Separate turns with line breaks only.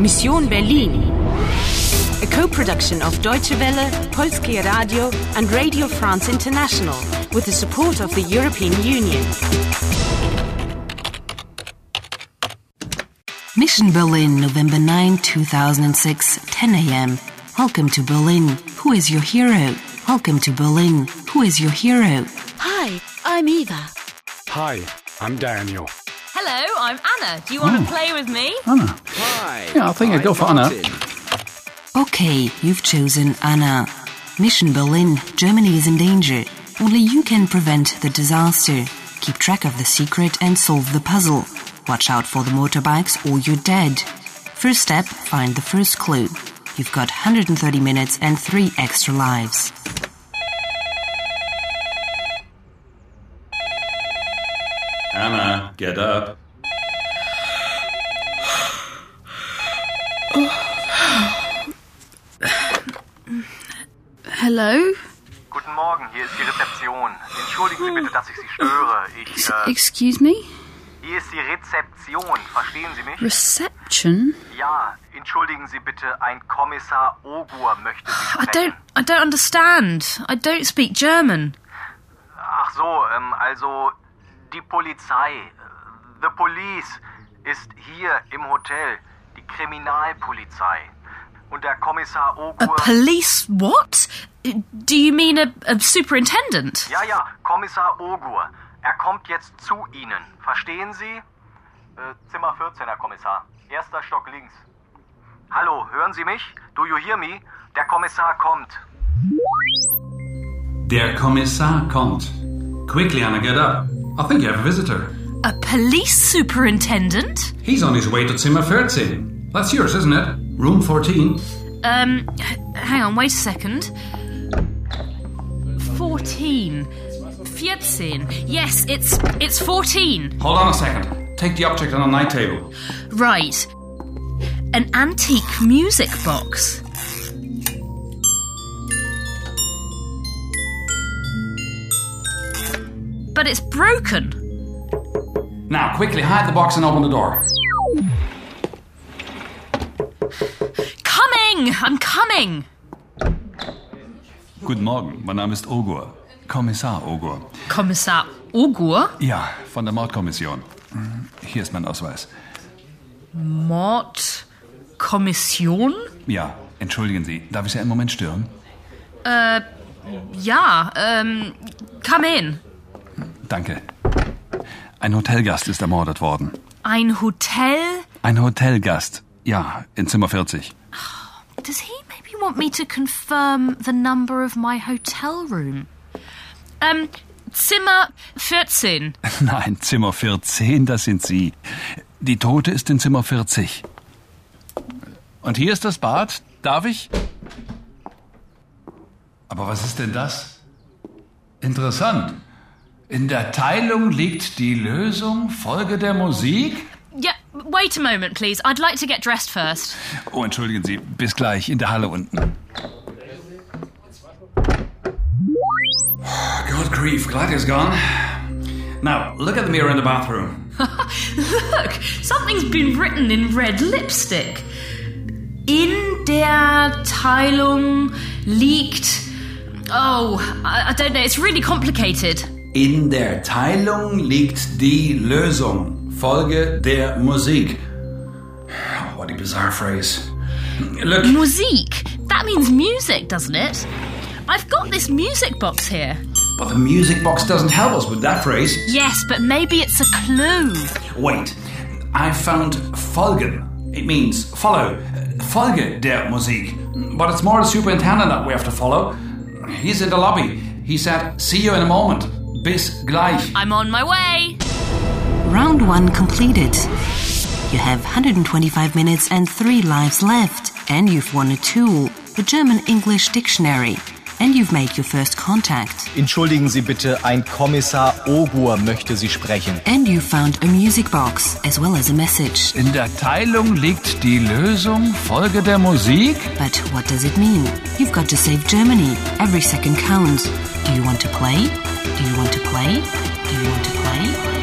Mission Berlin. A co-production of Deutsche Welle, Polskie Radio and Radio France International with the support of the European Union.
Mission Berlin, November 9, 2006, 10 a.m. Welcome to Berlin. Who is your hero? Welcome to Berlin. Who is your hero?
Hi, I'm Eva.
Hi, I'm Daniel.
Hello, I'm Anna. Do you want to play with me?
Anna.
Hi.
Yeah, I think I'd go for Anna.
Martin.
Okay, you've chosen Anna. Mission Berlin, Germany is in danger. Only you can prevent the disaster. Keep track of the secret and solve the puzzle. Watch out for the motorbikes or you're dead. First step, find the first clue. You've got 130 minutes and three extra lives.
Anna, get up.
Hello?
Guten Morgen, hier ist die Rezeption. Entschuldigen Sie bitte, dass ich Sie störe. Ich,
S-
äh,
Excuse me?
hier ist die Rezeption. Verstehen Sie mich?
Reception?
Ja, entschuldigen Sie bitte, ein Kommissar Ogur möchte Sie
I don't.
sprechen.
I don't understand. I don't speak German.
Ach so, ähm, also die Polizei, äh, the police, ist hier im Hotel, die Kriminalpolizei. Und der Kommissar
A
Ogur...
police? What? Do you mean a, a superintendent?
Ja, ja, Kommissar Ogur. Er kommt jetzt zu Ihnen. Verstehen Sie? Äh, Zimmer 14, Herr Kommissar. Erster Stock links. Hallo, hören Sie mich? Do you hear me? Der Kommissar kommt.
Der Kommissar kommt. Quickly, Anna, get up. I think you have a visitor.
A police superintendent?
He's on his way to Zimmer 13. That's yours, isn't it? Room 14.
Um, h- hang on, wait a second. 14. 14. Yes, it's it's 14.
Hold on a second. Take the object on a night table.
Right. An antique music box. But it's broken.
Now, quickly hide the box and open the door.
Coming! I'm coming!
Guten Morgen, mein Name ist Ogur. Kommissar Ogur.
Kommissar Ogur?
Ja, von der Mordkommission. Hm, Hier ist mein Ausweis.
Mordkommission?
Ja, entschuldigen Sie, darf ich Sie einen Moment stören?
Ja, ähm, come in.
Danke. Ein Hotelgast ist ermordet worden.
Ein Hotel?
Ein Hotelgast. Ja, in Zimmer 40.
Does he maybe want me to confirm the number of my hotel room? Um, Zimmer 14.
Nein, Zimmer 14, das sind Sie. Die Tote ist in Zimmer 40. Und hier ist das Bad. Darf ich? Aber was ist denn das? Interessant. In der Teilung liegt die Lösung. Folge der Musik.
Yeah, wait a moment, please. I'd like to get dressed first.
Oh, entschuldigen Sie. Bis gleich in der Halle unten.
God grief, glad he's gone. Now, look at the mirror in the bathroom.
Look, something's been written in red lipstick. In der Teilung liegt. Oh, I, I don't know. It's really complicated.
In der Teilung liegt die Lösung. Folge der Musik. What a bizarre phrase. Look,
Musik. That means music, doesn't it? I've got this music box here.
but the music box doesn't help us with that phrase.
Yes, but maybe it's a clue.
Wait, I found folgen. It means follow. Folge der Musik. But it's more the superintendent that we have to follow. He's in the lobby. He said, see you in a moment. Bis gleich.
I'm on my way.
Round 1 completed. You have 125 minutes and 3 lives left, and you've won a tool, the German English Dictionary, and you've made your first contact,
Entschuldigen Sie bitte, ein Kommissar Ogur möchte Sie sprechen.
and you've found a music box as well as a message.
In der Teilung liegt die Lösung. Folge der Musik.
But what does it mean? You've got to save Germany. Every second counts. Do you want to play? Do you want to play? Do you want to play?